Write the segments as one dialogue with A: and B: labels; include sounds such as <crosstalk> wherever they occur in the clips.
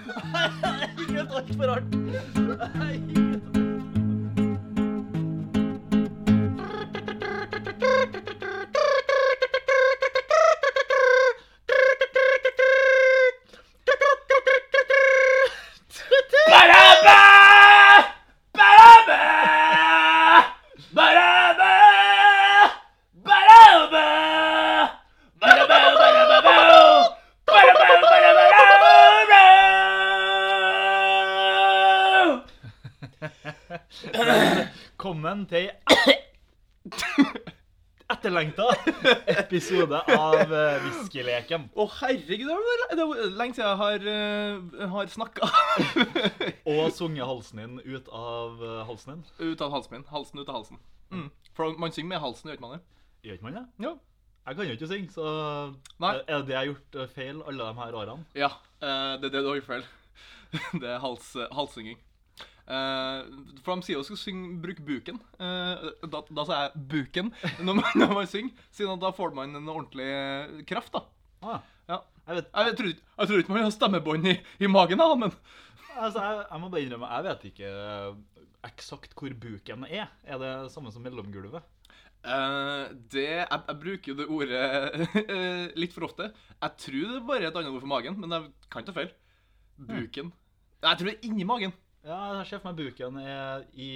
A: Herregud, altfor rart. Herregud. Velkommen til etterlengta episode av eh, Whiskeleken.
B: Å, herregud, det var le- det var lenge siden jeg har, eh, har snakka.
A: Og sunget halsen din ut av eh, halsen din.
B: <laughs> ut av halsen min. Halsen ut av halsen. Mm. For man synger med halsen, gjør ikke man det?
A: Gjør ikke man det?
B: Ja.
A: Jeg kan jo ikke synge, så
B: Nei.
A: er det det jeg har gjort eh, feil alle de her årene?
B: Ja, eh, det er det du har gjort feil. <laughs> det er hals, halssynging. Eh, for de sier jo skal synge 'bruk buken'. Eh, da, da sa jeg 'buken' <laughs> når man, når man synger, siden at da får man en ordentlig eh, kraft, da.
A: Ah,
B: Ja.
A: jeg, vet,
B: Jeg, tror, ikke- jeg tror ikke man har stemmebånd i, i magen, da, men
A: altså, jeg, jeg må bare innrømme, jeg vet ikke eh, eksakt hvor buken er. Er det samme som mellomgulvet?
B: Eh, det, jeg, jeg bruker jo det ordet <laughs> eh, litt for ofte. Jeg tror det er bare et annet ord for magen, men jeg kan ta feil. Buken. Jeg tror det er inni magen.
A: Ja, jeg ser for meg buken er i,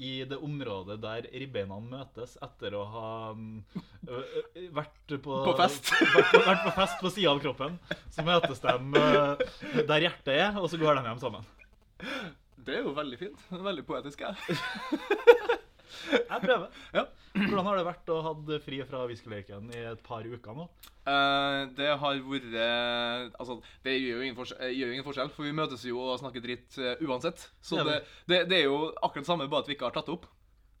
A: i det området der ribbeina møtes etter å ha mm, ø- ø- vært på,
B: På fest. <laughs>
A: vært, på- vært på fest på sida av kroppen. Så møtes de ø, der hjertet er, og så går de hjem sammen.
B: Det er jo veldig fint. Veldig poetisk. Jeg.
A: Jeg prøver.
B: Ja.
A: Hvordan har det vært å ha hatt fri fra viskeleken i et par uker nå?
B: Eh, det har vært Altså, det gjør jo, ingen forskjell, gjør jo ingen forskjell, for vi møtes jo og snakker dritt eh, uansett. Så
A: Ja,
B: det,
A: men-
B: det, det er jo akkurat det samme, bare at vi ikke har tatt det opp.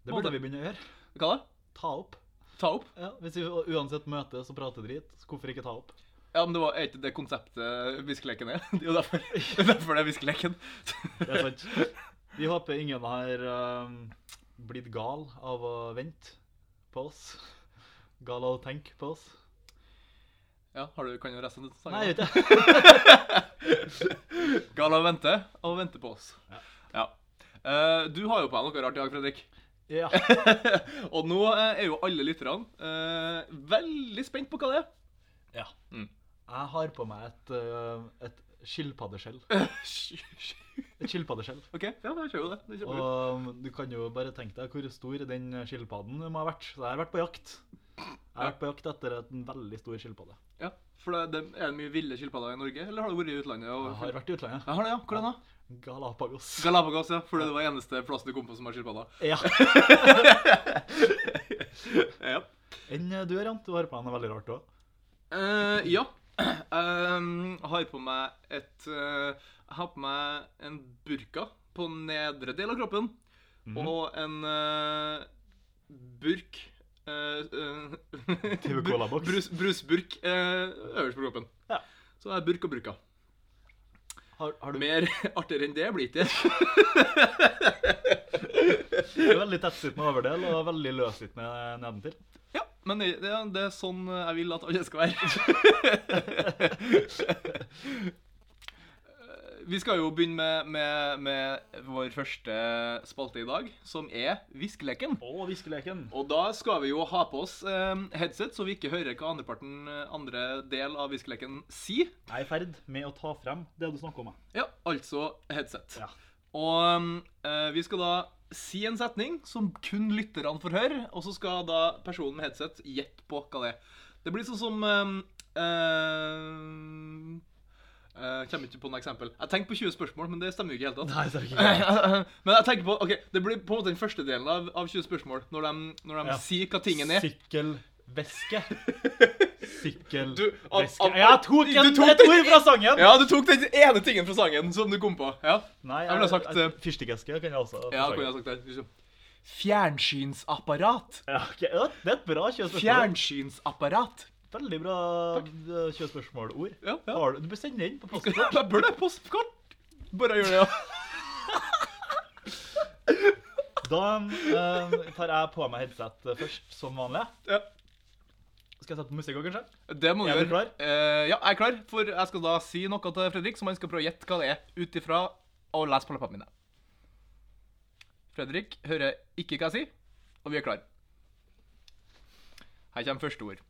A: Det burde vi begynne å gjøre.
B: Hva da?
A: Ta opp.
B: Ta opp?
A: Ja, hvis vi uansett møtes og prater drit, så hvorfor ikke ta opp?
B: Ja, men det var er ikke det konseptet viskeleken er. <laughs> Det er jo derfor det er, derfor det er viskeleken. <laughs>
A: Det er sant. Vi håper ingen har ehm, blitt gal av å vente på oss. Gal av å tenke på oss.
B: Ja, har du, kan du resten av sangen?
A: Nei, jeg vet ikke.
B: Gal av å vente, og vente på oss.
A: Ja.
B: Ja. Eh, du har jo på deg noe rart i dag, Fredrik.
A: Ja.
B: og nå eh, er jo alle lytterne eh, veldig spent på hva det er. <laughs>
A: ja.
B: Mm.
A: Jeg har på meg et, eh, et skilpaddeskjell.
B: Hysj, hysj.
A: Et skilpaddeskjell.
B: OK, ja, da kjører vi det. det kjører vi.
A: Og um, du kan jo bare tenke deg hvor stor den skilpadden må ha vært. Så jeg har vært på jakt. Jeg har vært på jakt etter et- en veldig stor skilpadde.
B: Ja, for det, det, Er det mye ville skilpadder i Norge, eller har du vært i utlandet? Og,
A: Jeg har vært i utlandet.
B: Jeg har det, ja. Hvordan da?
A: Galapagos.
B: Galapagos, ja. For det var eneste plassen du kom på som har
A: <laughs>
B: skilpadder.
A: Ja.
B: ja.
A: Enn eh, du, Rant, du har på deg noe veldig rart òg.
B: Eh, ja. <clears throat> Um, har på meg et eh, Jeg har på meg en burka på nedre del av kroppen.
A: Mm.
B: Og en eh, burk eh, <laughs> eh,
A: Til colaboks.
B: brus, Brusburk eh, øverst på kroppen.
A: Ja.
B: Så det er burk og burka.
A: Har, har du
B: Mer <laughs> artigere enn det blir det ikke.
A: Det er Veldig tettsittende overdel og veldig løssittende eh, nedentil.
B: <laughs> Ja, men det, det, det er sånn jeg vil at alle skal være. Eh, <laughs> Vi skal jo begynne med, med, med vår første spalte i dag, som er Viskeleken.
A: Og viskeleken.
B: Og da skal vi jo ha på oss eh, headset, så vi ikke hører hva andreparten, eh, andre del av viskeleken sier.
A: Jeg er i ferd med å ta frem det du snakker om. jeg.
B: Ja, altså headset.
A: Ja.
B: Og eh, vi skal da si en setning som kun lytterne får høre, og så skal da personen med headset gjette på hva det er. Det blir sånn som eh, eh, eh, Kommer ikke på noe eksempel. Jeg tenkte på 20 spørsmål, men det stemmer jo ikke i det hele tatt.
A: Nei, det er ikke greit.
B: <laughs> Men jeg tenker på, ok, det blir på en måte den første delen av, av 20 spørsmål, når de, når de
A: Ja.
B: sier hva tingen er.
A: Sykkelveske.
B: Du, av-
A: Sykkelveske
B: av-
A: Jeg tok, en,
B: Du tok
A: et
B: den-
A: ord fra sangen!
B: Ja, du tok den ene tingen fra sangen som du kom på. Ja,
A: Nei,
B: Jeg ville sagt,
A: jeg-
B: eh,
A: Fyrstikkeske kan jeg også.
B: ja kunne jeg sagt det. Liksom. Fjernsynsapparat.
A: Ja, ok, ja, det er et bra kjøspørsmål.
B: Fjernsynsapparat.
A: Veldig bra eh, kjøspørsmålord.
B: Ja, ja.
A: Har Du du bør sende inn på postkort.
B: Jeg bør det postkort. Bare gjør det, ja.
A: Da eh, tar jeg på meg headset først, som vanlig.
B: ja.
A: Skal jeg sette på musikk òg, kanskje?
B: Det må vi
A: Er
B: gjøre.
A: du klar?
B: Eh, ja, jeg er klar. For jeg skal da si noe til Fredrik, som han skal prøve å gjette hva det er, ut ifra å lese på leppene mine. Fredrik hører ikke hva jeg sier, og vi er klar. Her kommer første ord.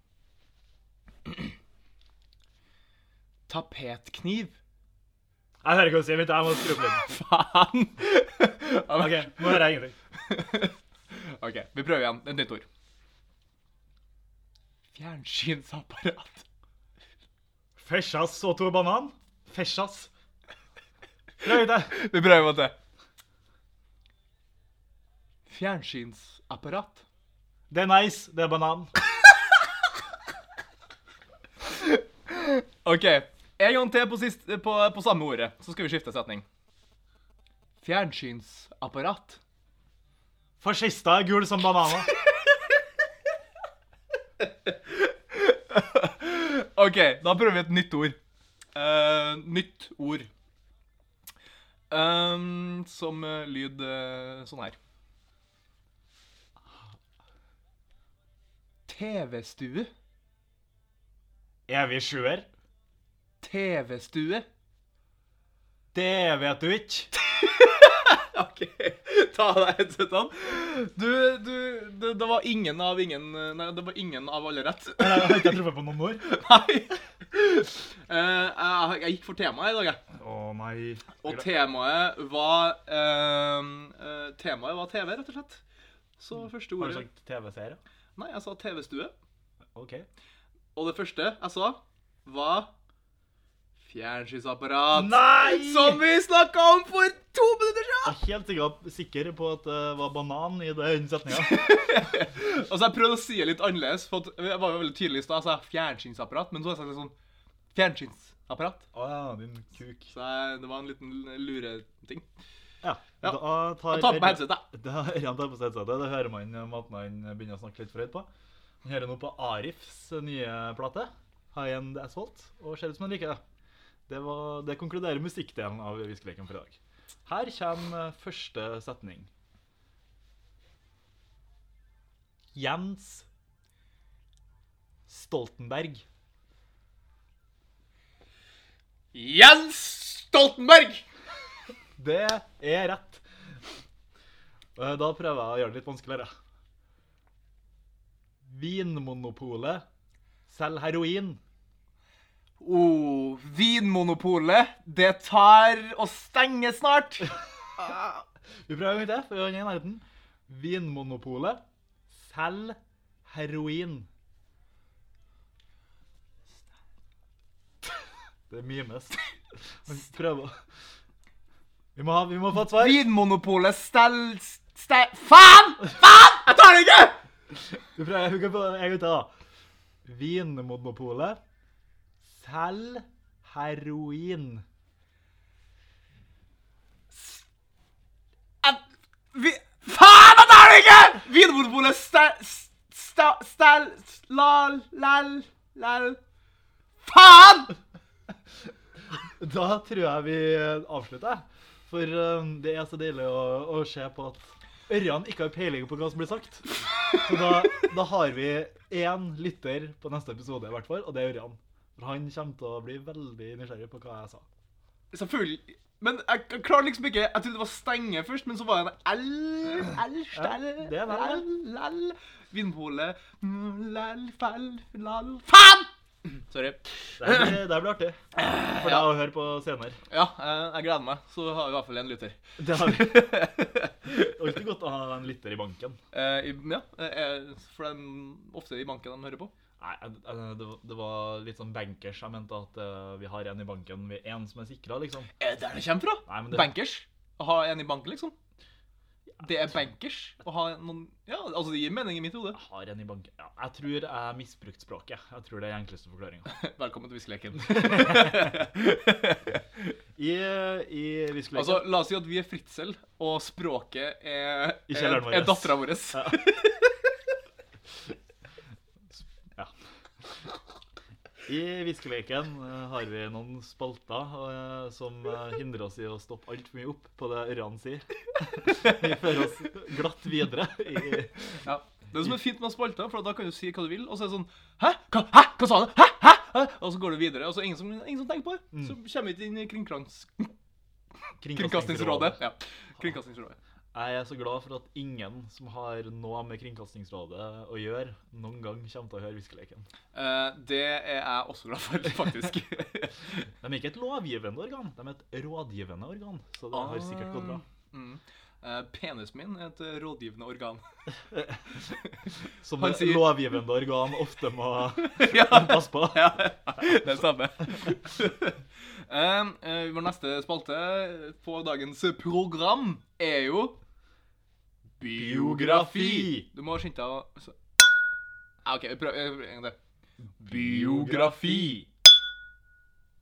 B: <clears throat> Tapetkniv. <laughs>
A: Jeg hører ikke hva du sier. Vent, jeg må skru opp lyden.
B: Faen!
A: OK, nå hører jeg ingenting.
B: OK, vi prøver igjen. Et nytt ord. Fjernsynsapparat.
A: Fesjas og to banan. Fesjas. Prøv det.
B: Vi prøver med det. Fjernsynsapparat.
A: Det er nice. Det er banan.
B: OK. En gang til på, sist, på, på samme ordet, så skal vi skifte setning. Fjernsynsapparat.
A: Fascister er gul som bananer.
B: OK, da prøver vi et nytt ord. Eh, nytt ord. Ehm, som eh, lyd eh, sånn her. TV-stue.
A: Evig sjuer.
B: TV-stue.
A: Det vet du ikke.
B: <laughs> OK, ta av deg headsetene. Du, du det, det var ingen av ingen Nei, det var ingen av alle rett. <laughs>
A: Jeg har ikke truffet på noen ord.
B: Nei. Eh, jeg, jeg gikk for temaet i dag, jeg.
A: Å nei.
B: Og temaet var eh, eh, Temaet var TV, rett og slett. Så første
A: Mm. Har du
B: ordet
A: sagt TV-serie?
B: Nei, jeg sa TV-stue.
A: OK.
B: Og det første jeg sa, var fjernsynsapparat.
A: Nei!
B: Som vi snakka om for to minutter siden!
A: Jeg er helt sikker- sikker på at det var banan i den setninga.
B: Altså, jeg prøvde å si det litt annerledes, for at jeg var jo veldig tydelig i stad. Jeg sa fjernsynsapparat, men så har jeg sagt litt sånn fjernsynsapparat.
A: Å ja, din kuk.
B: Så jeg, det var en liten lureting.
A: Ja.
B: Ja.
A: Da tar
B: Jeg tar på meg
A: Ørjan- <laughs>
B: headsetet.
A: Da Ørjan tar på seg headsetet. Det hører man eh, måten han begynner å snakke litt for høyt på. Han hører nå på Arifs nye plate, High End Asphalt, og ser ut som han liker det. Det, var, det konkluderer musikkdelen av Viskeleken for i dag. Her kommer eh, første setning. Jens Stoltenberg.
B: Jens Stoltenberg!
A: Det er rett. Eh, Da prøver jeg å gjøre det litt vanskeligere. Vinmonopolet selger heroin.
B: Oh, vinmonopolet, det tar og stenger snart.
A: Vi prøver ikke det, for han er i nærheten. Vinmonopolet selger heroin. Det mimes. Han prøver. Vi må, ha, vi må få et svar.
B: Vinmonopolet stel... Ste... Faen! Faen! Jeg tar det ikke!
A: Du prøver jeg hugger på en gang til, da. Vinmonopolet selger heroin.
B: Jeg... Vi... Faen, jeg tar det ikke! Vinmonopolet stel... Stel... Stel... La... Lel... Lel... Faen!
A: Da tror jeg vi avslutter. For eh, det er så deilig å, å se på at Ørjan ikke har peiling på hva som blir sagt. Så da, da har vi én lytter på neste episode, i hvert fall, og det er Ørjan. For han kommer til å bli veldig nysgjerrig på hva jeg sa.
B: Selvfølgelig. Men jeg, jeg klarer liksom ikke Jeg trodde det var stenge først, men så var det en L L stell
A: Ja, det er en L.
B: L L Vindpolet Lall, fell, lall Faen! Sorry.
A: Det her blir, det her blir artig. For deg å høre på senere.
B: Ja, eh, jeg gleder meg. Så har vi i hvert fall en lytter.
A: Det har vi. Alltid godt å ha en lytter i banken.
B: Eh, i- ja, eh, for det er ofte i banken de hører på.
A: Nei, jeg- jeg- det, var- det var litt sånn bankers. Jeg mente at eh, vi har en i banken, vi er en som er sikra, liksom.
B: Er Eh, det der det kommer fra?
A: Nei, men det-
B: Bankers. Å ha en i banken, liksom. Det er bankers å ha noen Ja, altså det gir mening i mitt hode. <laughs>
A: Jeg har en i banken. Ja, jeg tror jeg misbrukte språket. Jeg tror det er den enkleste forklaringa.
B: Velkommen til viskeleken.
A: I, i viskeleken
B: Altså, La oss si at vi er Fritzel, og språket er,
A: I
B: er,
A: kjelleren vår.
B: er dattera vår.
A: <laughs> Ja. I viskeleken eh, har vi noen spalter eh, som eh, hindrer oss i å stoppe altfor mye <laughs> opp på det Ørjan sier. Vi fører oss glatt videre i
B: Ja. Det som er fint med spalter, for da kan du si hva du vil, og så er det sånn Hæ? Hva, hæ? hva sa du? Hæ? Hæ? Hæ? Og så går du videre, og så er det ingen som, ingen som tenker på det.
A: Mm.
B: Så kommer vi ikke inn i kringkrans, Kringkastingsrådet. Ja. Kringkastingsrådet.
A: Jeg er så glad for at ingen som har noe med Kringkastingsrådet å gjøre, noen gang kommer til å høre Hviskeleken.
B: Eh, det er jeg også glad for, <laughs> faktisk.
A: De er ikke et lovgivende organ, de er et rådgivende organ. Så det har sikkert gått bra.
B: Mm. Eh, penisen min er et eh, rådgivende organ. <laughs>
A: Som
B: Han
A: et
B: sier-
A: lovgivende organ ofte
B: <laughs>
A: må
B: ja,
A: passe på.
B: ja, det <laughs> stemmer. Eh, eh, vår neste spalte på dagens program er jo
A: Biografi.
B: Du må skynde deg å så- Ja, OK, prøv eh, en gang til. Biografi.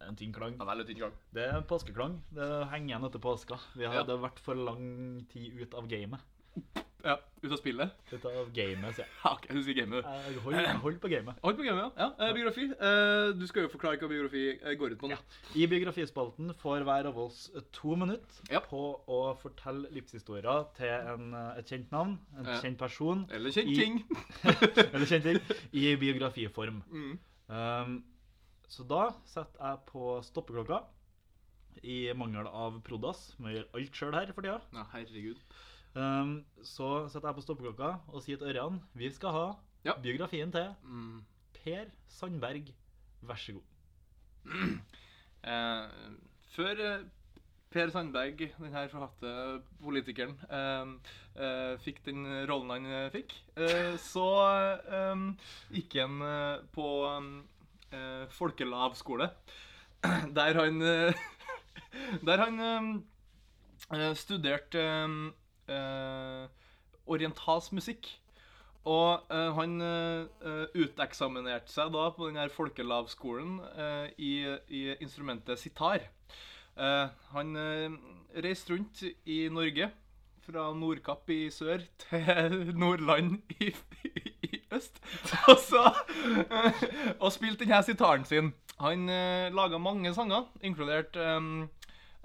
A: En tynn klang.
B: Ja, veldig tynn gang.
A: Det er påskeklang. Det henger igjen etter påska. Vi
B: Ja.
A: hadde vært for lang tid ut av gamet.
B: Ja, ut av spillet?
A: Ut av gamet, sier jeg.
B: <laughs> Ja, OK, du sier gamet, du.
A: Jeg holder hold på gamet.
B: Holdt på gamet, ja. ja eh, biografi. Eh, du skal jo forklare hva biografi eh, går ut på nå.
A: I biografispalten får hver av oss to minutter
B: Ja.
A: på å fortelle livshistorier til en, eh, et kjent navn, en
B: Ja.
A: kjent person,
B: Eller kjent
A: I-
B: <laughs> ting.
A: eller kjent ting, i biografiform.
B: <laughs> Mm.
A: Um, så da setter jeg på stoppeklokka, i mangel av Prodas. Vi gjør alt sjøl her for tida.
B: Ja, herregud.
A: Um, så setter jeg på stoppeklokka og sier til Ørjan vi skal ha
B: Ja.
A: biografien til
B: Mm.
A: Per Sandberg. Vær så god.
B: Eh, før eh, Per Sandberg, den her forhatte politikeren, eh, eh, fikk den rollen han eh, fikk, eh, så eh, gikk han eh, på eh, folkelavskole, <clears throat> der han eh, <laughs> Der han eh, eh, studerte eh, eh, orientalsk musikk. Og eh, han eh, eh, uteksaminerte seg da på den her folkelavskolen eh, i, i instrumentet sitar. Eh, han eh, reiste rundt i Norge, fra Nordkapp i sør til <laughs> Nordland i, i, i øst, <laughs> og, så, eh, og spilte denne sitaren sin. Han uh, laga mange sanger, inkludert eh,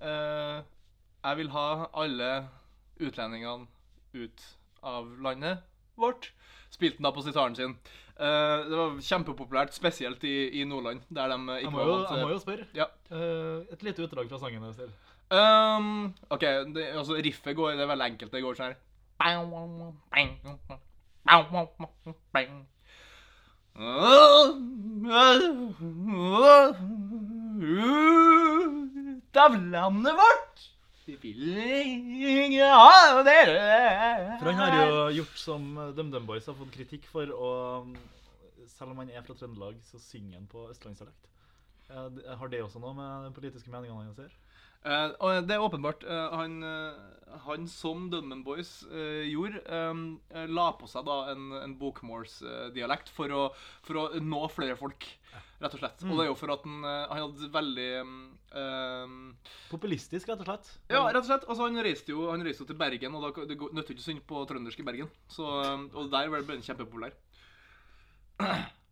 B: eh, Jeg vil ha alle utlendingene ut av landet vårt. Spilte den da på sitaren sin. Eh, det var kjempepopulært, spesielt i, i Nordland, der de eh,
A: Jeg
B: ikke
A: må jo,
B: vant til-
A: jeg må jo spørre.
B: Ja.
A: Eh, et lite utdrag fra sangen. Jeg ser.
B: Ehm, OK, det, altså riffet går, det er veldig enkelt. Det går sånn her. Ut av landet vårt Vi vil ikke ha dere
A: For han har jo gjort som eh, DumDum Boys har fått kritikk for, og mm, selv om han er fra Trøndelag, så synger han på østlandsdialekt. Eh, det- Har det også noe med de politiske meningene hans å gjøre?
B: Eh, og det er åpenbart. eh, han, eh, han som Dunman Boys eh, gjorde, eh, eh, la på seg da en, en bokmålsdialekt for, å- for å nå flere folk, rett og slett. Og det er jo for at han, eh, han hadde veldig eh,
A: Populistisk, rett og slett.
B: ja, rett og slett. Altså, han reiste jo, han reiste jo til Bergen, og da, det går- nytter jo ikke å synge på trøndersk i Bergen. Så, eh, og der ble han kjempepopulær.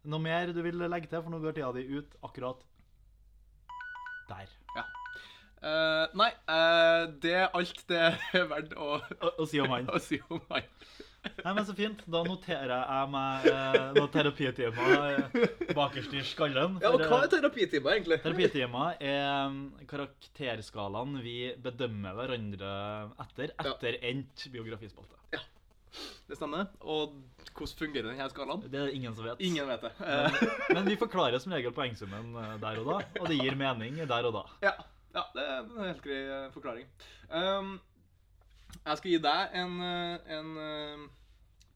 A: Noe mer du vil legge til, for nå går tida di ut akkurat der.
B: Eh, nei, eh, det er alt det er verdt å,
A: Å, å si om han.
B: å si om han.
A: <laughs> Nei, men så fint. Da noterer jeg meg eh, noen terapitimer eh, bakerst i skallen.
B: Ja, og
A: for,
B: hva
A: eh,
B: er terapitimer, egentlig?
A: Terapitimer er mm, karakterskalaen vi bedømmer hverandre etter etter endt biografispalte.
B: Det stemmer. Og hvordan fungerer denne skalaen?
A: Det er det ingen som vet.
B: Ingen vet det. Eh,
A: Men, men vi forklarer som regel poengsummen eh, der og da, og det gir mening der og da.
B: ja, ja, det er en helt grei eh, forklaring. Um, jeg skal gi deg en, eh, en eh,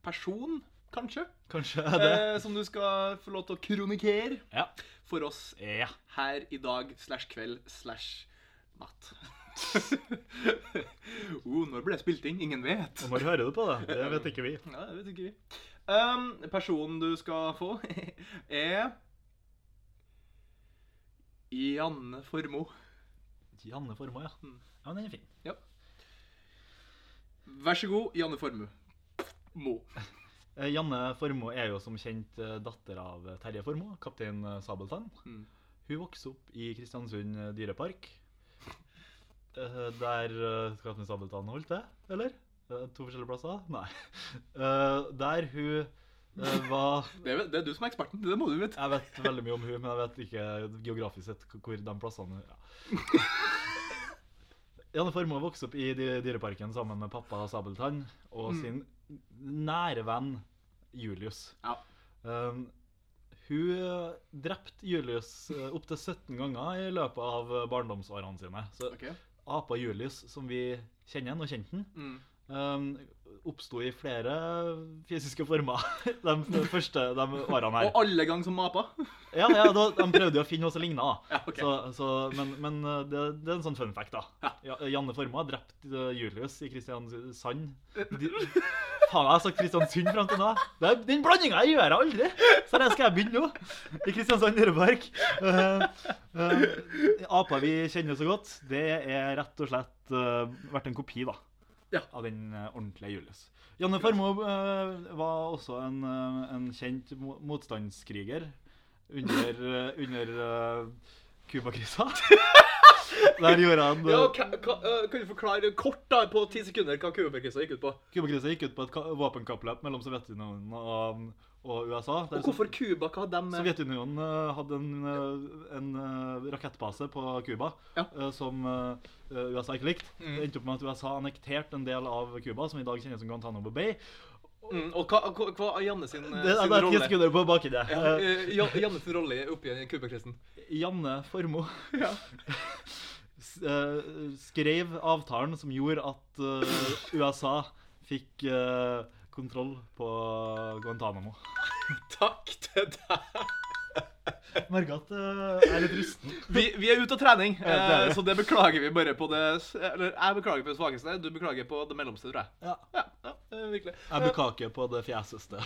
B: person, kanskje,
A: Kanskje er det
B: eh, som du skal få lov til å kronikere
A: Ja.
B: for oss
A: Ja.
B: her i dag slash kveld slash natt. <laughs> oh, når ble det spilt inn? Ingen vet.
A: Og når hører du på det? Det vet ikke vi.
B: Ja, det vet ikke vi. Ehm, personen du skal få, <laughs> er Janne Formoe.
A: Janne Formoe, ja.
B: Mm.
A: Ja, men den er fin.
B: Vær så god, Janne Formoe. Mo.
A: Eh, Janne Formoe er jo som kjent eh, datter av eh, Terje Formoe, kaptein eh, Sabeltann.
B: Mm.
A: Hun vokste opp i Kristiansund eh, dyrepark. Eh, Der eh, kaptein Sabeltann holdt det, eller? eh, to forskjellige plasser? Nei. <laughs> Eh, der hun eh, var
B: Det er, vel- det er du som er eksperten. Det må du vite.
A: Jeg vet veldig mye om hun, men jeg vet ikke geografisk sett hvor de plassene ja. Jennifer må vokse opp i dy- dyreparken sammen med pappa Sabeltann og
B: Mm.
A: sin nære venn Julius.
B: Ja.
A: Um, hun drepte Julius eh, opptil 17 ganger i løpet av barndomsårene sine. Så
B: Ok.
A: apa Julius, som vi kjenner, nå kjente han,
B: Mm.
A: um, oppsto i flere fysiske former <laughs> de første de årene her.
B: Og alle ganger som <laughs> mapa.
A: Ja, ja da, de prøvde jo å finne noe som lignet, da.
B: Ja, ok.
A: Så, så, men men eh, det, det er en sånn fun fact, da. Ja, Janne Forma drepte eh, Julius i Kristiansand. De, faen, jeg har sagt Kristiansund fram til nå. Det er, den blandinga gjør jeg aldri! Så det skal jeg begynne nå. I Kristiansand dyrepark. Eh, eh, apa vi kjenner så godt, det er rett og slett eh, vært en kopi, da.
B: Ja.
A: Av den eh, ordentlige Julius. Janne Formoe eh, var også en, eh, en kjent mo- motstandskriger under, eh, under eh, Cuba-krisa. <laughs> Der gjorde han eh,
B: Ja, ka, ka, øh, kan du forklare kort da, på ti sekunder hva Cuba-krisa gikk ut på?
A: Cuba-krisa gikk ut på et ka- våpenkappløp mellom Sovjetunionen og, og USA. der
B: Og hvorfor Cuba? Hva hadde de
A: Sovjetunionen eh, hadde en, eh, en eh, rakettbase på Cuba
B: Ja.
A: eh, som eh, USA ikke likte.
B: Mm.
A: Det endte opp med at USA annekterte en del av Cuba, som i dag kjennes som Guantánamo Bay.
B: mm, Og hva, hva, hva er Janne sin, eh,
A: Det, det
B: sin
A: er ti
B: rolle?
A: sekunder på bakken, det.
B: Ja,
A: Eh,
B: eh, Jan- Janne sin rolle oppi Cuba-krisen.
A: Janne Formoe
B: Ja.
A: <laughs> s- eh, skrev avtalen som gjorde at eh, USA fikk eh, kontroll på Guantánamo.
B: Takk til deg.
A: Jeg Merker at eh, jeg er litt rusten.
B: Vi, vi er ute av trening,
A: Ja, det er
B: eh,
A: vi.
B: så det beklager vi bare på det s- Eller jeg beklager på det svakeste, du beklager på det mellomste, tror jeg.
A: Ja.
B: Ja, ja eh, virkelig.
A: Jeg bekaker på det fjæseste.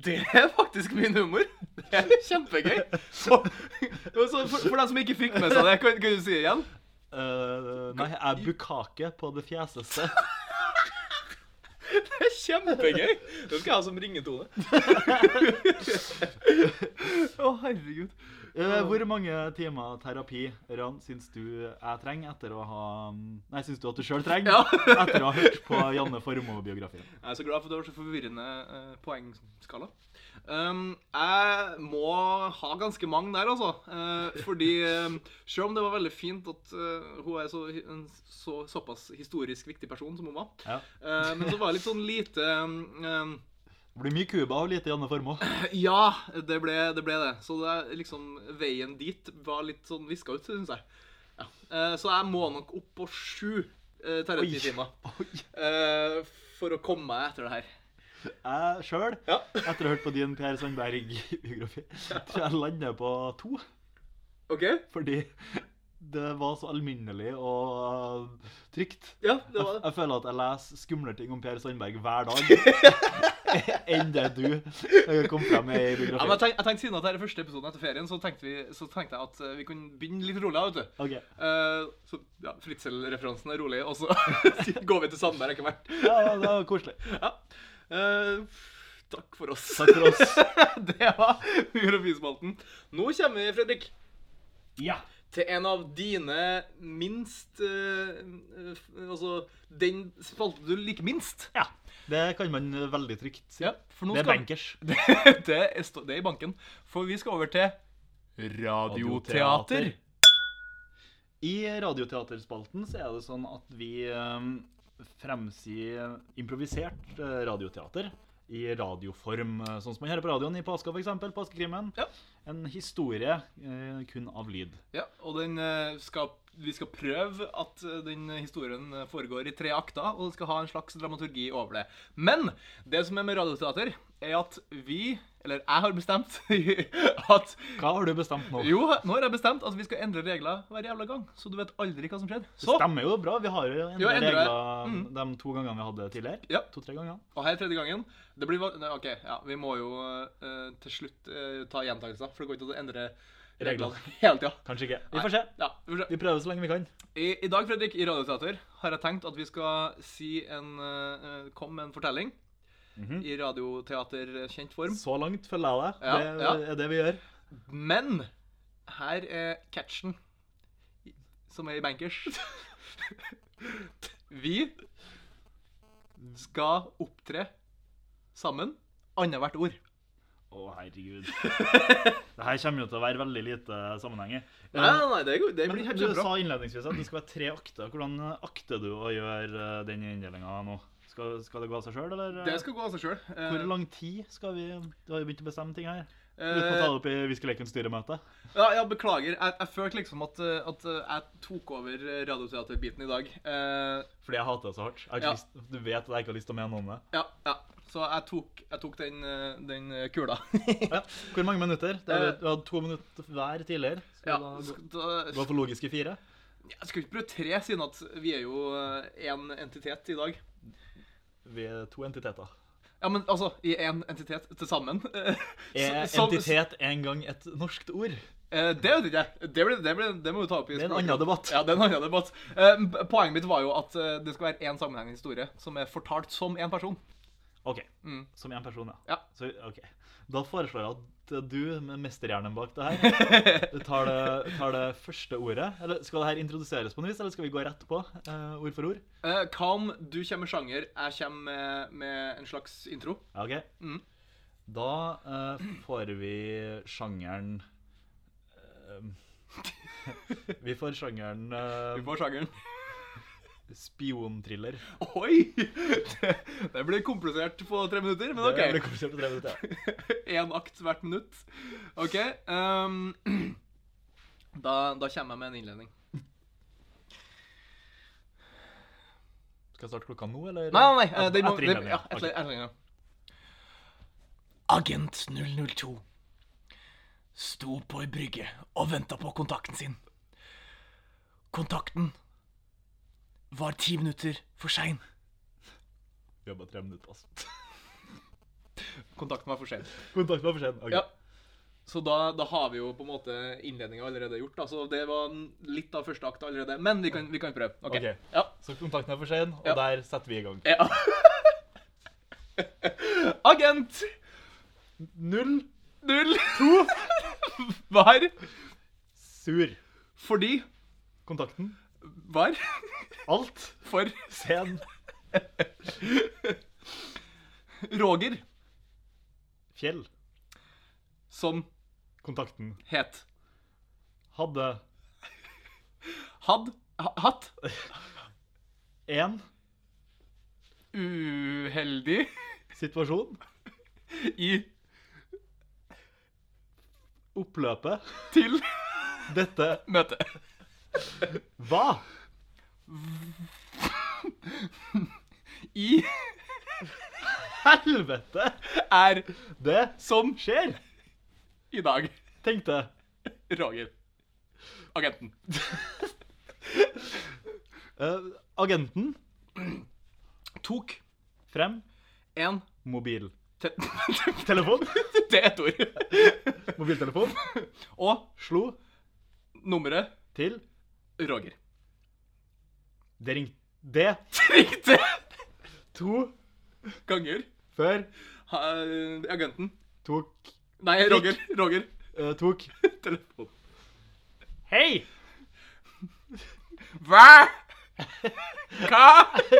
B: Det er faktisk min humor. Det er kjempegøy. Så, så for, for dem som ikke fikk med seg det, kan, kan du si det igjen?
A: Eh, nei, jeg bukake på det fjeseste.
B: Det er kjempegøy. Det skal jeg ha som
A: <laughs>
B: ringetone. Å, herregud.
A: Eh, hvor mange timer terapi Ran, syns du jeg trenger etter å ha mm, Nei, syns du at du sjøl trenger
B: Ja.
A: etter å ha hørt på Janne Formoe-biografien?
B: Jeg er så glad for at det var så forvirrende eh, poengskala. Um, jeg må ha ganske mange der, altså. Eh, fordi um, selv om det var veldig fint at eh, hun er så, en så, såpass historisk viktig person som hun var,
A: Ja.
B: eh, men så var det litt sånn lite um, um,
A: Det blir mye Cuba og lite Janne Formoe.
B: Ja, det ble det. Ble det. Så det er liksom, veien dit var litt sånn viska ut, syns jeg. Ja. Eh, så jeg må nok opp på sju uh, terapitimer
A: Oi.
B: eh, for å komme meg etter det her.
A: Jeg sjøl,
B: Ja.
A: etter å ha hørt på din Per Sandberg-biografi, tror jeg lander på to.
B: OK?
A: Fordi det var så alminnelig og trygt.
B: Ja, det
A: Jeg,
B: var det.
A: jeg føler at jeg leser skumle ting om Per Sandberg hver dag. <laughs> Enn det du kom frem med i
B: Ja, men jeg
A: biografien.
B: tenkte, jeg tenkte Siden at dette er første episoden etter ferien, så tenkte, vi, så tenkte jeg at eh, vi kunne begynne litt rolig. vet du.
A: Ok.
B: Eh, så ja, Fritzel-referansen er rolig, og så <laughs> går vi til Sandberg etter hvert.
A: Ja, ja, det var koselig.
B: Ja. Eh, takk for oss.
A: Takk for oss.
B: <laughs> Det var Geografispalten. Nå kommer vi, Fredrik,
A: Ja.
B: til en av dine minst eh, eh, Altså den spalten du liker minst.
A: ja. Det kan man eh, veldig trygt si.
B: Ja, for nå
A: Det er
B: skal-
A: bankers.
B: <laughs> Det, det, er, sto- det er i banken. For vi skal over til radioteater.
A: I Radioteaterspalten så er det sånn at vi ehm, fremsier improvisert eh, radioteater i radioform, eh, sånn som man hører på radioen i påska, f.eks. Påskekrimmen.
B: Ja.
A: En historie eh, kun av lyd.
B: Ja, og den eh, skal, vi skal prøve at eh, den historien eh, foregår i tre akter, og det skal ha en slags dramaturgi over det. Men det som er med radioteater, er at vi, eller jeg har bestemt <laughs> at
A: Hva har du bestemt nå?
B: Jo, nå har jeg bestemt at vi skal endre regler hver jævla gang, så du vet aldri hva som skjer. Så,
A: Stemmer jo bra. Vi har jo endret
B: Jo, endret.
A: regler
B: Mm.
A: de to gangene vi hadde tidligere.
B: Ja.
A: To-tre ganger.
B: og her er tredje gangen. Det blir va- Nei, OK, ja, vi må jo eh, til slutt eh, ta gjentakelser, for det går ikke an å endre
A: Reglene.
B: reglene <laughs> hele tida.
A: Kanskje ikke. Vi får se.
B: Ja, vi får se.
A: Vi prøver så lenge vi kan.
B: I, I dag, Fredrik, i Radioteater har jeg tenkt at vi skal si en eh, eh, Kom med en fortelling.
A: Mhm.
B: I radioteaterkjent form.
A: Så langt følger jeg deg.
B: Ja,
A: det
B: ja.
A: er det vi gjør.
B: Men her er catchen, <laughs> som er i Bankers. vi skal opptre sammen annethvert ord.
A: Å,
B: <laughs>
A: herregud. Det her kommer jo til å være veldig lite sammenheng i.
B: Nei, nei, nei, det, er god- det
A: Men
B: blir helt
A: du
B: kjempebra.
A: sa innledningsvis at det skal være tre akter. Hvordan akter du å gjøre eh, den inndelinga nå? Skal, skal det gå av seg sjøl, eller? eh,
B: Det skal gå av seg Eh,
A: Hvor
B: sjøl.
A: lang tid skal vi Du har jo begynt å bestemme ting her. Uten
B: Eh,
A: å ta det opp i Viskelekens styremøte.
B: Ja, ja, beklager. Jeg, jeg følte liksom at, eh, at eh, jeg tok over eh, radioteaterbiten i dag. Eh,
A: Fordi jeg hater det så hardt. Jeg har ikke
B: Ja.
A: lyst, du vet at jeg ikke har lyst til å mene noe om det.
B: ja, ja. Så jeg tok, jeg tok den, eh, den eh, kula. <laughs>
A: Ja. Hvor mange minutter? Det er,
B: Eh,
A: du hadde to minutter hver tidligere. Skal
B: ja,
A: da gå-
B: sk- da,
A: Gå for logiske fire?
B: jeg skulle ikke prøve tre, siden at vi er jo én entitet i dag.
A: Vi er to entiteter.
B: Ja, men altså, i én entitet til sammen. <laughs>
A: Er
B: Så- så-
A: entitet en gang et norskt ord?
B: Eh, Det vet ikke jeg. Det, blir- det, blir- det må du ta opp i
A: Det er en
B: språket.
A: annen debatt.
B: Ja, det er en annen debatt. Eh, p- Poenget mitt var jo at eh, det skal være én sammenhengende historie som er fortalt som én person.
A: OK.
B: Mm.
A: Som én person, ja.
B: Ja.
A: Så, ok. Da foreslår jeg at du, med mesterhjernen bak det
B: <laughs>
A: her, du tar det, tar det første ordet. Eller skal det her introduseres på noe vis, eller skal vi gå rett på eh, ord for ord?
B: Eh, Hva om du kommer med sjanger, jeg kommer med, med en slags intro?
A: Ja, OK.
B: Mm.
A: Da eh, får vi sjangeren eh, <laughs> Vi får sjangeren
B: Du
A: uh,
B: får sjangeren.
A: spionthriller.
B: Oi! Det, det blir komplisert på tre minutter, men
A: Det blir
B: OK.
A: konsert på tre minutter. ja.
B: Én akt hvert minutt. OK. ehm, <clears throat> da, da kommer jeg med en innledning.
A: Skal jeg starte klokka nå, eller?
B: Nei, nei, nei. eh,
A: Et-
B: Den må,
A: etter
B: den,
A: innledningen,
B: ja,
A: ok.
B: etter, etter innledningen. Agent 002 sto på ei brygge og venta på kontakten sin. Kontakten var ti minutter for sein.
A: Vi har bare tre minutter, altså.
B: Kontakten var for sein.
A: Kontakt var for sent. ok.
B: Ja. Så da, da har vi jo på en måte innledninga allerede gjort. da. Så det var n- litt av første akt allerede. Men vi kan, vi kan prøve. Ok.
A: Ok.
B: Ja.
A: Så kontakten er for sen, og
B: Ja.
A: der setter vi i gang.
B: ja. <laughs> Agent
A: Null
B: null to <laughs> var
A: sur.
B: fordi
A: Kontakten.
B: var <laughs>
A: Alt.
B: for <laughs>
A: Sen.
B: Roger,
A: Fjell.
B: som
A: Kontakten.
B: het
A: Hadde
B: Had ha- Hatt
A: én
B: uheldig
A: situasjon.
B: i
A: Oppløpet.
B: til
A: Dette
B: møte.
A: var
B: I
A: helvete
B: er
A: det
B: som
A: skjer,
B: i dag.
A: tenkte jeg.
B: Roger. Agenten.
A: Eh, agenten
B: Tok
A: frem
B: en
A: mobiltelefon. <laughs>
B: te <laughs> Det er ett ord.
A: Mobiltelefon.
B: Og
A: Slo
B: nummeret
A: til.
B: Roger.
A: Det ringte Det
B: Riktig
A: to
B: ganger.
A: før
B: Ha, agenten.
A: tok
B: Nei, Roger. Roger.
A: eh, Tok
B: Telefon.
A: <laughs> Hei!
B: Hva? Hva?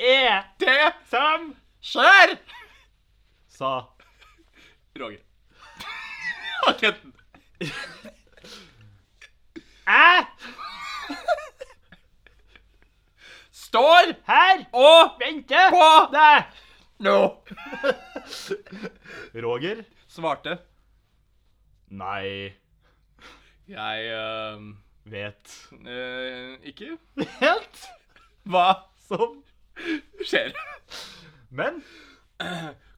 A: Er
B: Det
A: som
B: skjer?
A: sa
B: Roger. <laughs> Agenten.
A: Jeg
B: Står
A: her
B: og
A: venter
B: på
A: deg!
B: nå.
A: Roger?
B: Svarte.
A: Nei.
B: Jeg øhm,
A: Vet.
B: øh, ikke.
A: Helt
B: Hva
A: som
B: skjer?
A: Men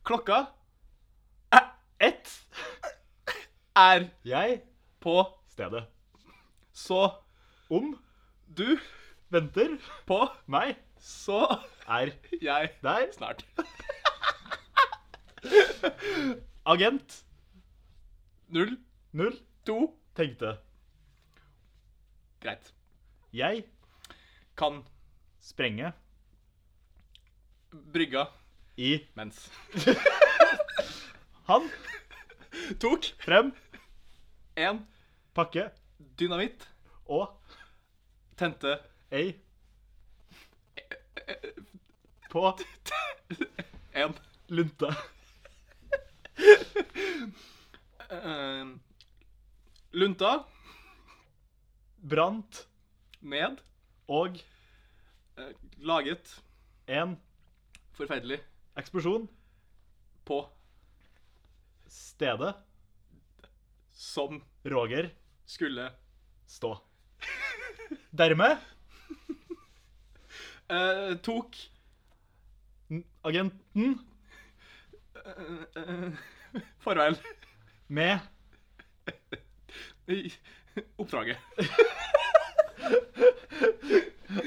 B: Klokka
A: ett
B: er
A: jeg
B: på,
A: stedet
B: så
A: om
B: du
A: venter
B: på,
A: meg
B: så <laughs>
A: er
B: jeg
A: der.
B: snart.
A: Agent
B: Null,
A: null
B: to,
A: tenkte
B: greit.
A: jeg
B: Kan
A: sprenge
B: brygga
A: i
B: mens. <laughs>
A: han
B: Tok
A: frem
B: en
A: pakke
B: dynamitt,
A: og
B: tente
A: ei på
B: En.
A: lunte.
B: Eh, lunta.
A: Brant
B: Ned.
A: og
B: Eh, laget.
A: en
B: Forferdelig.
A: eksplosjon.
B: På.
A: Stedet
B: Som.
A: Roger
B: Skulle.
A: stå. Dermed
B: Eh, tok.
A: n- agenten
B: Eh, eh, farvel.
A: med
B: I <laughs> oppdraget.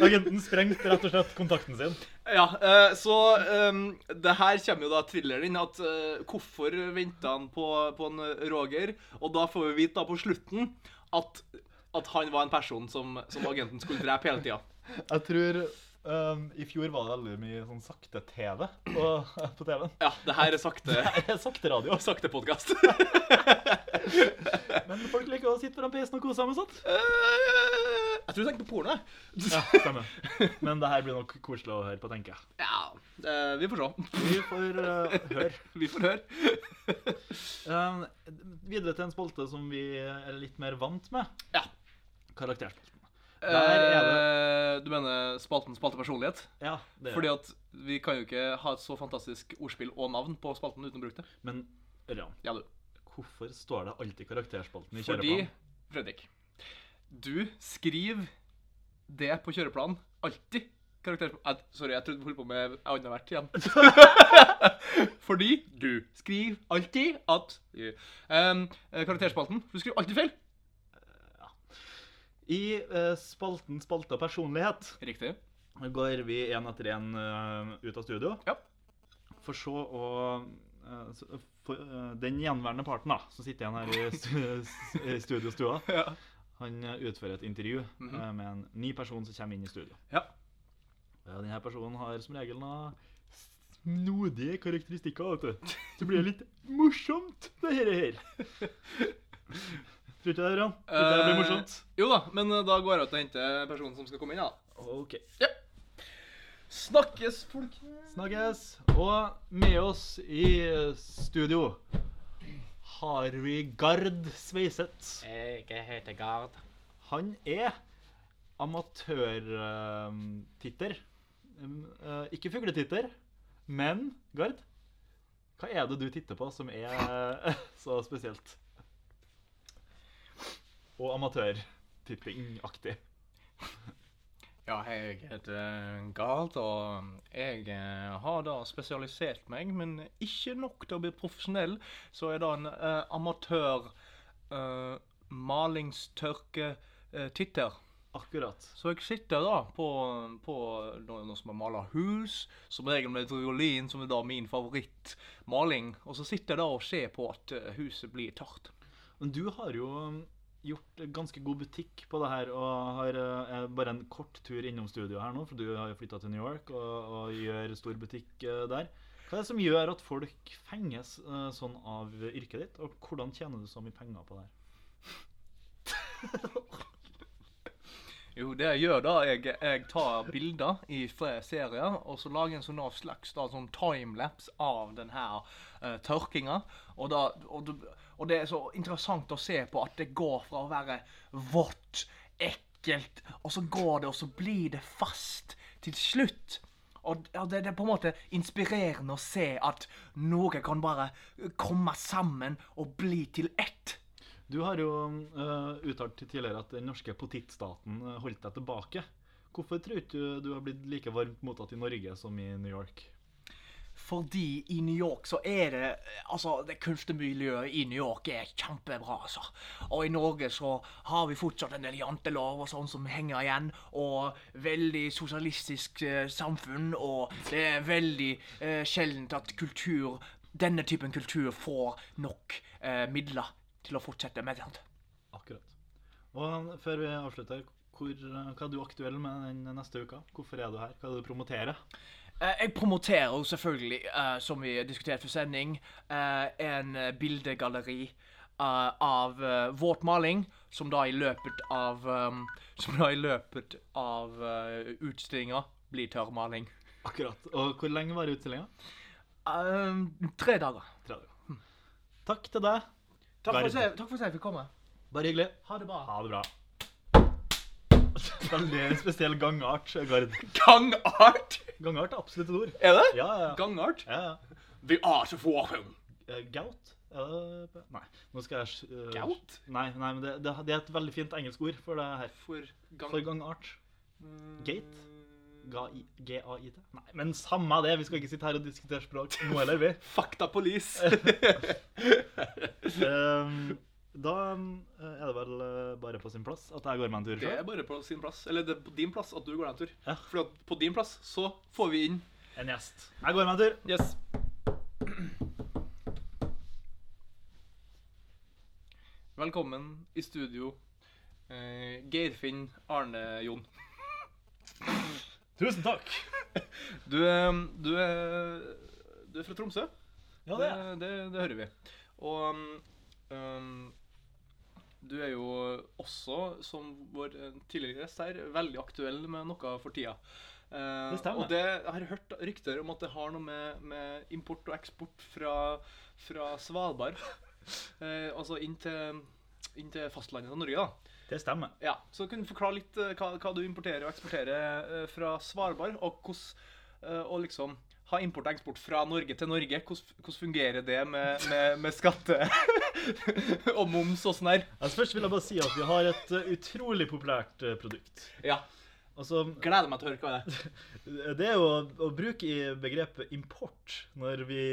A: Agenten sprengte rett og slett kontakten sin.
B: Ja, eh, så ehm, det her kommer jo da thrilleren inn, at eh, hvorfor venta han på, på en eh, Roger? Og da får vi vite da på slutten at, at han var en person som, som agenten skulle drepe hele tida.
A: Jeg tror ehm, I fjor var det veldig mye sånn sakte-TV på, på TV-en.
B: Ja, det her er sakte, <laughs>
A: Sakte-radio. altså.
B: sakte podkast.
A: Men folk liker å sitte foran PC-en og kose seg med sånt.
B: <laughs> jeg tror du tenkte på porno. jeg.
A: Ja, stemmer. Men det her blir nok koselig å høre på, tenker jeg.
B: Ja, eh, vi får se.
A: Vi får eh, høre.
B: <laughs> Vi får høre.
A: Eh, videre til en spolte som vi er litt mer vant med.
B: Ja.
A: Karakterspalten. Der er det
B: Eh, Du mener spalten spalte personlighet?
A: Ja, det er
B: Fordi
A: det.
B: at vi kan jo ikke ha et så fantastisk ordspill og navn på spalten uten å bruke det.
A: Men Ørjan,
B: Ja, du.
A: hvorfor står det alltid karakterspalten i
B: Fordi,
A: kjøreplanen?
B: Fredrik, du skriver det på kjøreplanen alltid. Karakter... Eh, Sorry, jeg trodde du holdt på med annethvert igjen. <laughs> Fordi du skriver alltid at Em, eh, Karakterspalten. Du skriver alltid feil.
A: I eh, spalten Spalte og personlighet
B: Riktig.
A: går vi én etter én ut av studio.
B: Ja.
A: For så å eh, s- for, eh, Den gjenværende parten, da, som sitter igjen her i stu- s- i studiostua,
B: Ja.
A: han eh, utfører et intervju
B: Mhm.
A: eh, med en ny person som kommer inn i studio.
B: Ja.
A: Ja, denne personen har som regel noen snodige karakteristikker, vet du. Så blir det litt morsomt, det her. her. Tror ikke det, Ørjan? Tror ikke det blir morsomt?
B: Jo da, men eh, da går jeg ut og henter personen som skal komme inn. da.
A: OK.
B: Snakkes, folk.
A: Snakkes. Og med oss i studio har vi Gard Sveiseth.
C: Jeg heter Gard.
A: Han er amatørtitter. eh, Ikke fugletitter, men Gard, hva er det du titter på som er <laughs> eh, så spesielt? Og amatørtitting-aktig.
B: Ja, jeg heter Gard, og jeg eh, har da spesialisert meg, men ikke nok til å bli profesjonell, så er da en eh, amatør eh, malingstørke-titter.
A: Akkurat.
B: så jeg sitter da på, på noe, noe som er malet hus, som regel med driolin, som er da min favorittmaling, og så sitter jeg da og ser på at eh, huset blir tørt.
A: Men du har jo um, gjort ganske god butikk på det her, og har eh, er bare en kort tur innom studio her nå, for du har jo flytta til New York og, og gjør stor butikk eh, der. Hva er det som gjør at folk fenges eh, sånn av yrket ditt, og hvordan tjener du så mye penger på det her?
B: Jo, det jeg gjør da, jeg, jeg tar bilder i flere serier, og så lager jeg en sånn av slags da, sånn timelapse av den her eh, tørkinga. Og, da, og, du- og det er så interessant å se på at det går fra å være vått, ekkelt, og så går det, og så blir det fast til slutt. Og ja, det, det er på en måte inspirerende å se at noe kan bare komme sammen og bli til ett.
A: Du har jo eh, uttalt tidligere at den norske potetstaten eh, holdt deg tilbake. Hvorfor tror ikke du du har blitt like varmt mottatt i Norge som i New York?
B: Fordi i New York så er det Altså, det kunstmiljøet i New York er kjempebra, altså. Og i Norge så har vi fortsatt en del jantelov og sånn som henger igjen. Og veldig sosialistisk eh, samfunn, og det er veldig eh, sjeldent at kultur Denne typen kultur får nok eh, midler til å fortsette med. Sant?
A: Akkurat. Og før vi avslutter, hvor, eh, hva er du aktuell med den neste uka? Hvorfor er du her? Hva er det du promoterer?
B: Eh, Jeg promoterer jo selvfølgelig, eh, som vi diskuterte for sending, eh, en eh, bildegalleri eh, av eh, våt maling, som da i løpet eh, <laughs> av um, Som da i løpet av uh, utstillinga eh, blir tørrmaling.
A: Akkurat. Og hvor lenge varer utstillinga?
C: Eh, tre dager.
A: 30. Hm. Takk til deg.
C: Takk for,
A: Verden.
C: at jeg- takk for at jeg fikk komme.
A: Bare hyggelig.
C: Ha det bra.
A: Ha det bra. <laughs> Veldig spesiell gangart. Gard.
B: Gangart!
A: Gangart er absolutt et ord.
B: Er det?
A: Ja, ja. ja.
B: Gangart?
A: ja, ja.
B: The art of walking.
A: Eh, Gout? Er det Nei, nå skal jeg eh,
B: Gout?
A: Nei, nei men det, det, det er et veldig fint engelsk ord for det her.
B: For gang...
A: For gangart. Gate?
B: Mm,
A: Ga- i- G-a-i-t? Nei, men samme det. Vi skal ikke sitte her og diskutere <laughs> språk nå heller, vi.
B: <laughs> Fakta police.
A: <laughs> Ehm, da eh, er det vel eh, bare på sin plass at jeg går meg en tur
B: Det
A: sjøl.
B: er bare på sin plass. Eller det er på din plass at du går deg en tur.
A: Ja.
B: For at på din plass så får vi inn
A: En gjest. Jeg går meg en tur.
B: Yes. Velkommen i studio, eh, Geirfinn Arne Jon.
A: Tusen takk.
B: Du, eh, du, er- du er fra Tromsø?
A: Ja, det er jeg.
B: det, det, det hører vi. Og um, du er jo også, som vår eh, tidligere gjest her, veldig aktuell med noe for tida. Eh,
A: Det stemmer.
B: Og det, jeg har hørt rykter om at det har noe med, med import og eksport fra, fra Svalbard <laughs> eh, Altså inn til, inn til fastlandet av Norge, da.
A: Det stemmer.
B: Ja, Så kan du forklare litt eh, hva, hva du importerer og eksporterer eh, fra Svalbard, og hvordan eh, og liksom ha import og eksport fra Norge til Norge. Hvordan, hvordan fungerer det med, med, med skatte <laughs> og moms og sånn her?
A: Altså, først vil jeg bare si at vi har et eh, utrolig populært eh, produkt.
B: Ja.
A: Altså, eh,
B: Gleder meg til å høre hva det er.
A: Det er jo å, å bruke i begrepet import når vi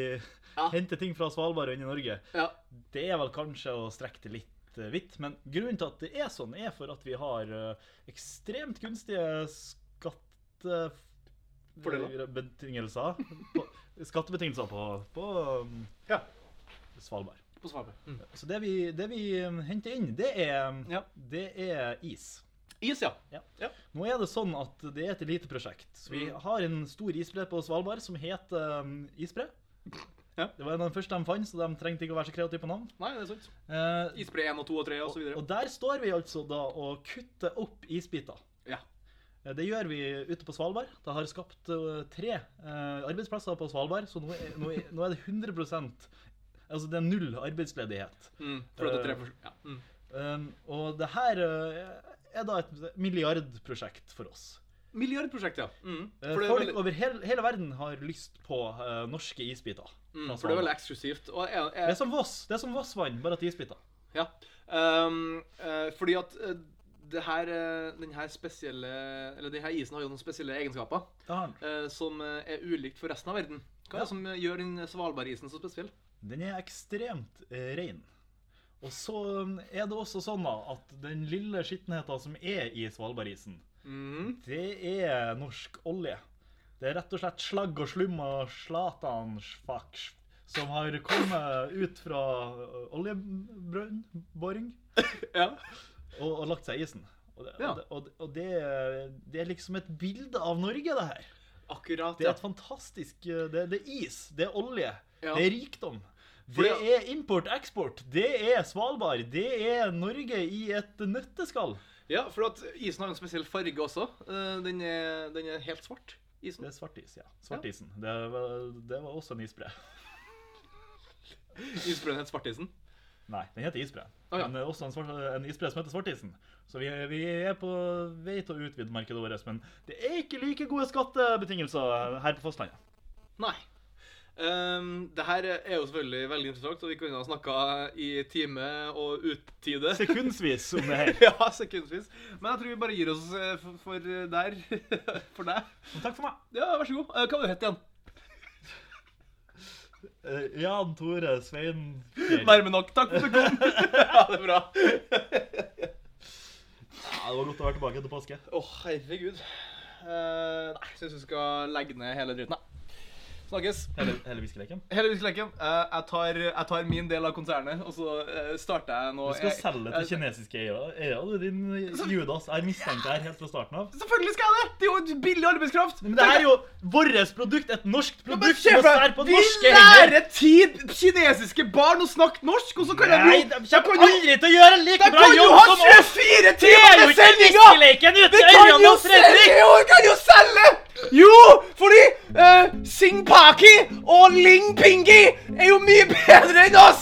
B: Ja.
A: henter ting fra Svalbard og inn i Norge.
B: Ja.
A: Det er vel kanskje å strekke det litt eh, vidt, men grunnen til at det er sånn, er for at vi har eh, ekstremt gunstige skatte...
B: Fordeler.
A: Betingelser. På, <laughs> skattebetingelser på, på um,
B: Ja. Mm.
A: Svalbard.
B: På Svalbard.
A: Så det vi, det vi um, henter inn, det er, um,
B: Ja.
A: det er is.
B: Is, ja.
A: Ja.
B: Ja.
A: Nå er det sånn at det er et lite prosjekt. Så vi
B: Mm.
A: har en stor isbre på Svalbard som heter um, Isbre.
B: Ja.
A: Det var en av de første de fant, så de trengte ikke å være så kreative på navn.
B: Nei, det er sant.
A: Eh,
B: Isbre 1 og 2 og 3 og
A: og,
B: så videre.
A: og der står vi altså da og kutter opp isbiter.
B: Ja.
A: Eh, Det gjør vi ute på Svalbard. Det har skapt eh, tre eh, arbeidsplasser på Svalbard, så nå er, nå er, nå er det 100 Altså det er null arbeidsledighet.
B: Mm, for at det er tre for... ja. mm.
A: Um, og det her eh, er da et milliardprosjekt for oss.
B: Milliardprosjekt, ja. Mm.
A: Eh,
B: For det er
A: Folk
B: veldig-
A: over hele, hele verden har lyst på eh, norske isbiter. fra
B: Mm, for det er
A: Svalbard.
B: veldig eksklusivt. Og jeg, jeg,
A: Det er som Voss, det er som Voss-vann, bare at det er isbiter.
B: Ja. Ehm, eh, fordi at eh, det her, eh, den her spesielle Eller den her isen har jo noen spesielle egenskaper
A: Det har den.
B: eh, som eh, er ulikt for resten av verden. Hva
A: Ja.
B: er det som eh, gjør den Svalbardisen så spesiell?
A: Den er ekstremt eh, rein. Og så er det også sånn da, at den lille skittenheten som er i Svalbardisen,
B: Mhm.
A: det er norsk olje. Det er rett og slett slagg og slum og slatansfaks som har kommet ut fra eh, oljebrønn, boring.
B: Ja.
A: og, og lagt seg i isen. Og, det,
B: Ja.
A: og, det- og, det- og det, det er liksom et bilde av Norge, det her.
B: Akkurat.
A: Det er
B: Ja.
A: et fantastisk eh, Det, det er is, det er olje,
B: Ja.
A: det er rikdom.
B: For
A: Det
B: det-
A: er import-eksport, det er Svalbard, det er Norge i et nøtteskall.
B: ja, for at isen har en spesiell farge også. Eh, Den er, den er helt svart.
A: Det
B: Isen.
A: er svartis, ja. Svartisen. Det, var- det var også en isbre.
B: Isbreen het Svartisen.
A: Nei, den heter isbre.
B: Å, ja.
A: Men det er også en, svart, en isbre som heter Svartisen. Så vi, vi er på vei til å utvide markedet vårt, men det er ikke like gode skattebetingelser her på fastlandet.
B: Nei. Um, det her er jo selvfølgelig veldig interessant, og vi kunne ha snakka i time og uttide.
A: Sekundsvis om det
B: <laughs>
A: her.
B: Ja, sekundvis. Men jeg tror vi bare gir oss eh, for, for eh, der. <laughs> For deg.
A: Men Takk for meg.
B: Ja, vær så god. Eh, Hva var du het igjen?
A: Eh, Jan Tore Svein Fjell.
B: Nærme nok. Takk for
A: <laughs>
B: at du kom. Ja, det er bra.
A: Ja, det var godt å være tilbake etter påske.
B: Å, herregud. Eh, nei, syns vi skal legge ned hele dritten. Nei. Snakkes.
A: Hele, hele viskeleken.
B: Hele viskeleken. Eh, jeg, tar, jeg tar min del av konsernet, og så eh, starter jeg nå
A: Du skal
B: jeg-
A: selge til
B: jeg-
A: kinesiske eiere, eiere, du, din eh, Judas. Jeg mistenkte det her helt fra starten av.
B: Selvfølgelig skal jeg det! Det er jo billig arbeidskraft.
A: Men det her er jo vårt produkt, et norsk
B: Ja, men
A: produkt.
B: kjeft,
A: som er på
B: vi
A: norske hender.
B: lærer tid kinesiske barn å snakke norsk, og så kan
A: Nei,
B: jeg
A: de
B: jo jeg
A: kommer
B: kan jo
A: aldri til å gjøre like
B: Jeg
A: bra
B: kan jo
A: jobb
B: ha
A: som oss!
B: 24
A: Det er
B: timer
A: jo
B: med
A: ikke
B: sendinga!
A: viskeleken
B: Vi
A: uten
B: kan
A: Ørjan
B: jo
A: og
B: selge!
A: Fredrik!
B: Jo, vi kan jo selge! Jo, fordi eh, Ling Pingi er jo mye bedre enn oss! Ah!